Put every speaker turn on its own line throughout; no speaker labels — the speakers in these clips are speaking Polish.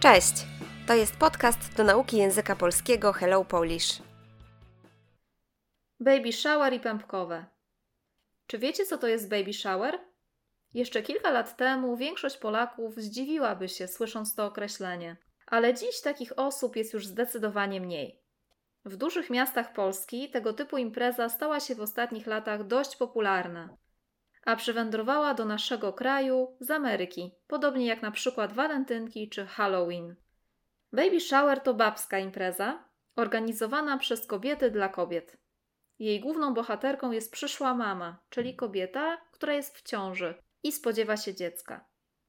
Cześć! To jest podcast do nauki języka polskiego Hello Polish.
Baby shower i pępkowe. Czy wiecie, co to jest baby shower? Jeszcze kilka lat temu większość Polaków zdziwiłaby się, słysząc to określenie, ale dziś takich osób jest już zdecydowanie mniej. W dużych miastach Polski tego typu impreza stała się w ostatnich latach dość popularna, a przywędrowała do naszego kraju z Ameryki, podobnie jak na przykład walentynki czy Halloween. Baby shower to babska impreza, organizowana przez kobiety dla kobiet. Jej główną bohaterką jest przyszła mama, czyli kobieta, która jest w ciąży i spodziewa się dziecka.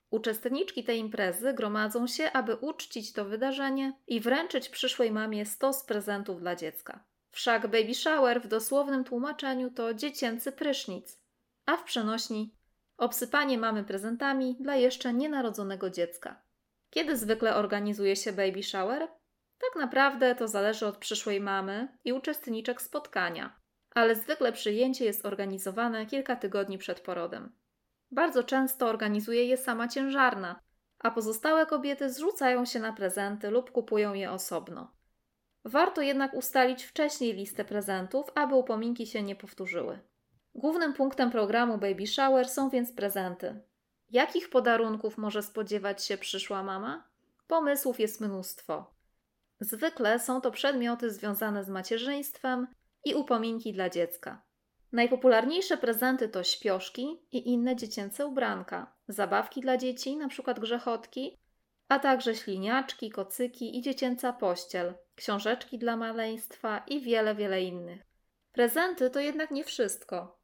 Uczestniczki tej imprezy gromadzą się, aby uczcić to wydarzenie i wręczyć przyszłej mamie stos prezentów dla dziecka. Wszak baby shower w dosłownym tłumaczeniu to dziecięcy prysznic, a w przenośni obsypanie mamy prezentami dla jeszcze nienarodzonego dziecka. Kiedy zwykle organizuje się baby shower? Tak naprawdę to zależy od przyszłej mamy i uczestniczek spotkania, ale zwykle przyjęcie jest organizowane kilka tygodni przed porodem. Bardzo często organizuje je sama ciężarna, a pozostałe kobiety zrzucają się na prezenty lub kupują je osobno. Warto jednak ustalić wcześniej listę prezentów, aby upominki się nie powtórzyły. Głównym punktem programu Baby Shower są więc prezenty. Jakich podarunków może spodziewać się przyszła mama? Pomysłów jest mnóstwo. Zwykle są to przedmioty związane z macierzyństwem i upominki dla dziecka. Najpopularniejsze prezenty to śpioszki i inne dziecięce ubranka, zabawki dla dzieci, np. grzechotki, a także śliniaczki, kocyki i dziecięca pościel, książeczki dla maleństwa i wiele, wiele innych. Prezenty to jednak nie wszystko.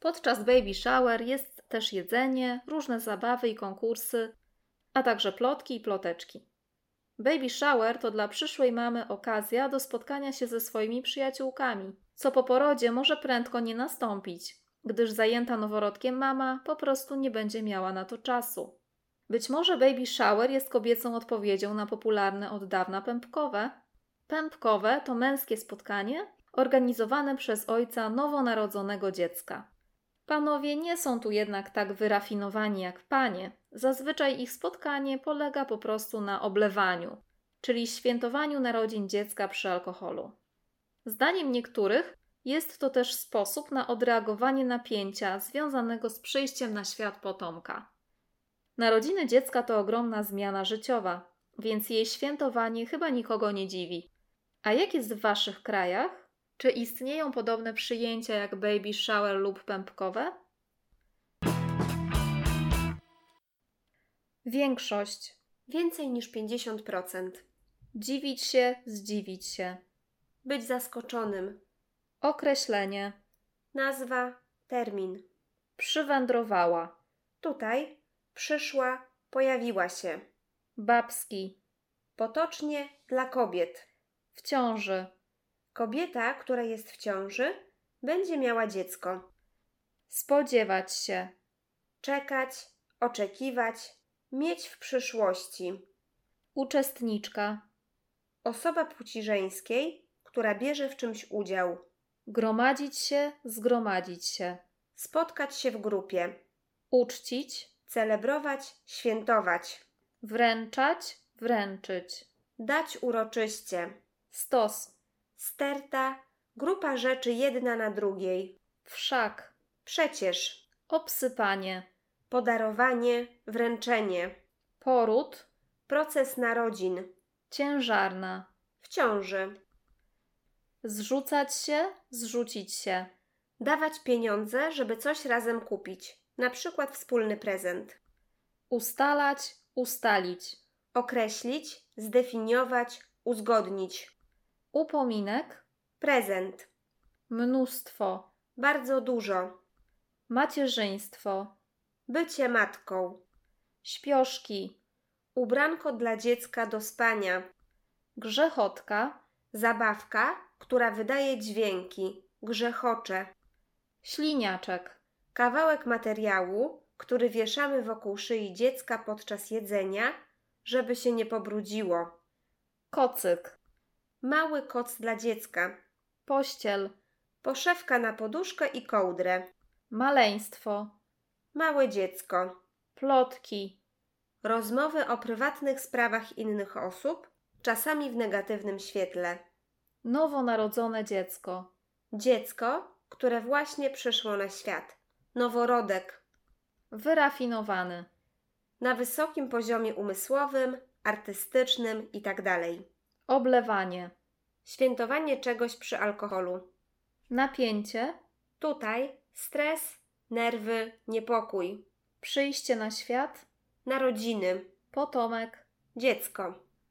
Podczas baby shower jest też jedzenie, różne zabawy i konkursy, a także plotki i ploteczki. Baby shower to dla przyszłej mamy okazja do spotkania się ze swoimi przyjaciółkami, co po porodzie może prędko nie nastąpić, gdyż zajęta noworodkiem mama po prostu nie będzie miała na to czasu. Być może baby shower jest kobiecą odpowiedzią na popularne od dawna pępkowe. Pępkowe to męskie spotkanie organizowane przez ojca nowonarodzonego dziecka. Panowie nie są tu jednak tak wyrafinowani jak panie. Zazwyczaj ich spotkanie polega po prostu na oblewaniu, czyli świętowaniu narodzin dziecka przy alkoholu. Zdaniem niektórych jest to też sposób na odreagowanie napięcia związanego z przyjściem na świat potomka. Narodziny dziecka to ogromna zmiana życiowa, więc jej świętowanie chyba nikogo nie dziwi. A jak jest w waszych krajach? Czy istnieją podobne przyjęcia jak baby shower lub pępkowe? Większość.
Więcej niż 50%.
Dziwić się, zdziwić się.
Być zaskoczonym.
Określenie.
Nazwa, termin.
Przywędrowała.
Tutaj przyszła, pojawiła się.
Babski.
Potocznie dla kobiet.
W ciąży.
Kobieta, która jest w ciąży, będzie miała dziecko.
Spodziewać się.
Czekać, oczekiwać, mieć w przyszłości.
Uczestniczka.
Osoba płci żeńskiej, która bierze w czymś udział.
Gromadzić się, zgromadzić się.
Spotkać się w grupie.
Uczcić.
Celebrować, świętować.
Wręczać, wręczyć.
Dać uroczyście.
Stos.
Sterta, grupa rzeczy jedna na drugiej.
Wszak.
Przecież,
Obsypanie.
podarowanie, wręczenie,
Poród.
proces narodzin,
Ciężarna.
w ciąży,
Zrzucać się, zrzucić się.
dawać pieniądze, żeby coś razem kupić, na przykład wspólny prezent.
Ustalać, ustalić.
Określić, zdefiniować, uzgodnić.
Upominek.
Prezent,
Mnóstwo.
bardzo dużo.
Macierzyństwo.
Bycie matką,
Śpioszki.
ubranko dla dziecka do spania,
Grzechotka.
zabawka, która wydaje dźwięki, grzechocze.
Śliniaczek.
Kawałek materiału, który wieszamy wokół szyi dziecka podczas jedzenia, żeby się nie pobrudziło.
Kocyk.
Mały koc dla dziecka.
Pościel.
Poszewka na poduszkę i kołdrę.
Maleństwo.
Małe dziecko.
Plotki.
Rozmowy o prywatnych sprawach innych osób, czasami w negatywnym świetle.
Nowonarodzone dziecko.
Dziecko, które właśnie przyszło na świat. Noworodek.
Wyrafinowany.
Na wysokim poziomie umysłowym, artystycznym itd.
Oblewanie.
Świętowanie czegoś przy alkoholu.
Napięcie.
Tutaj stres, nerwy, niepokój.
Przyjście na świat.
Narodziny.
Potomek.
Dziecko.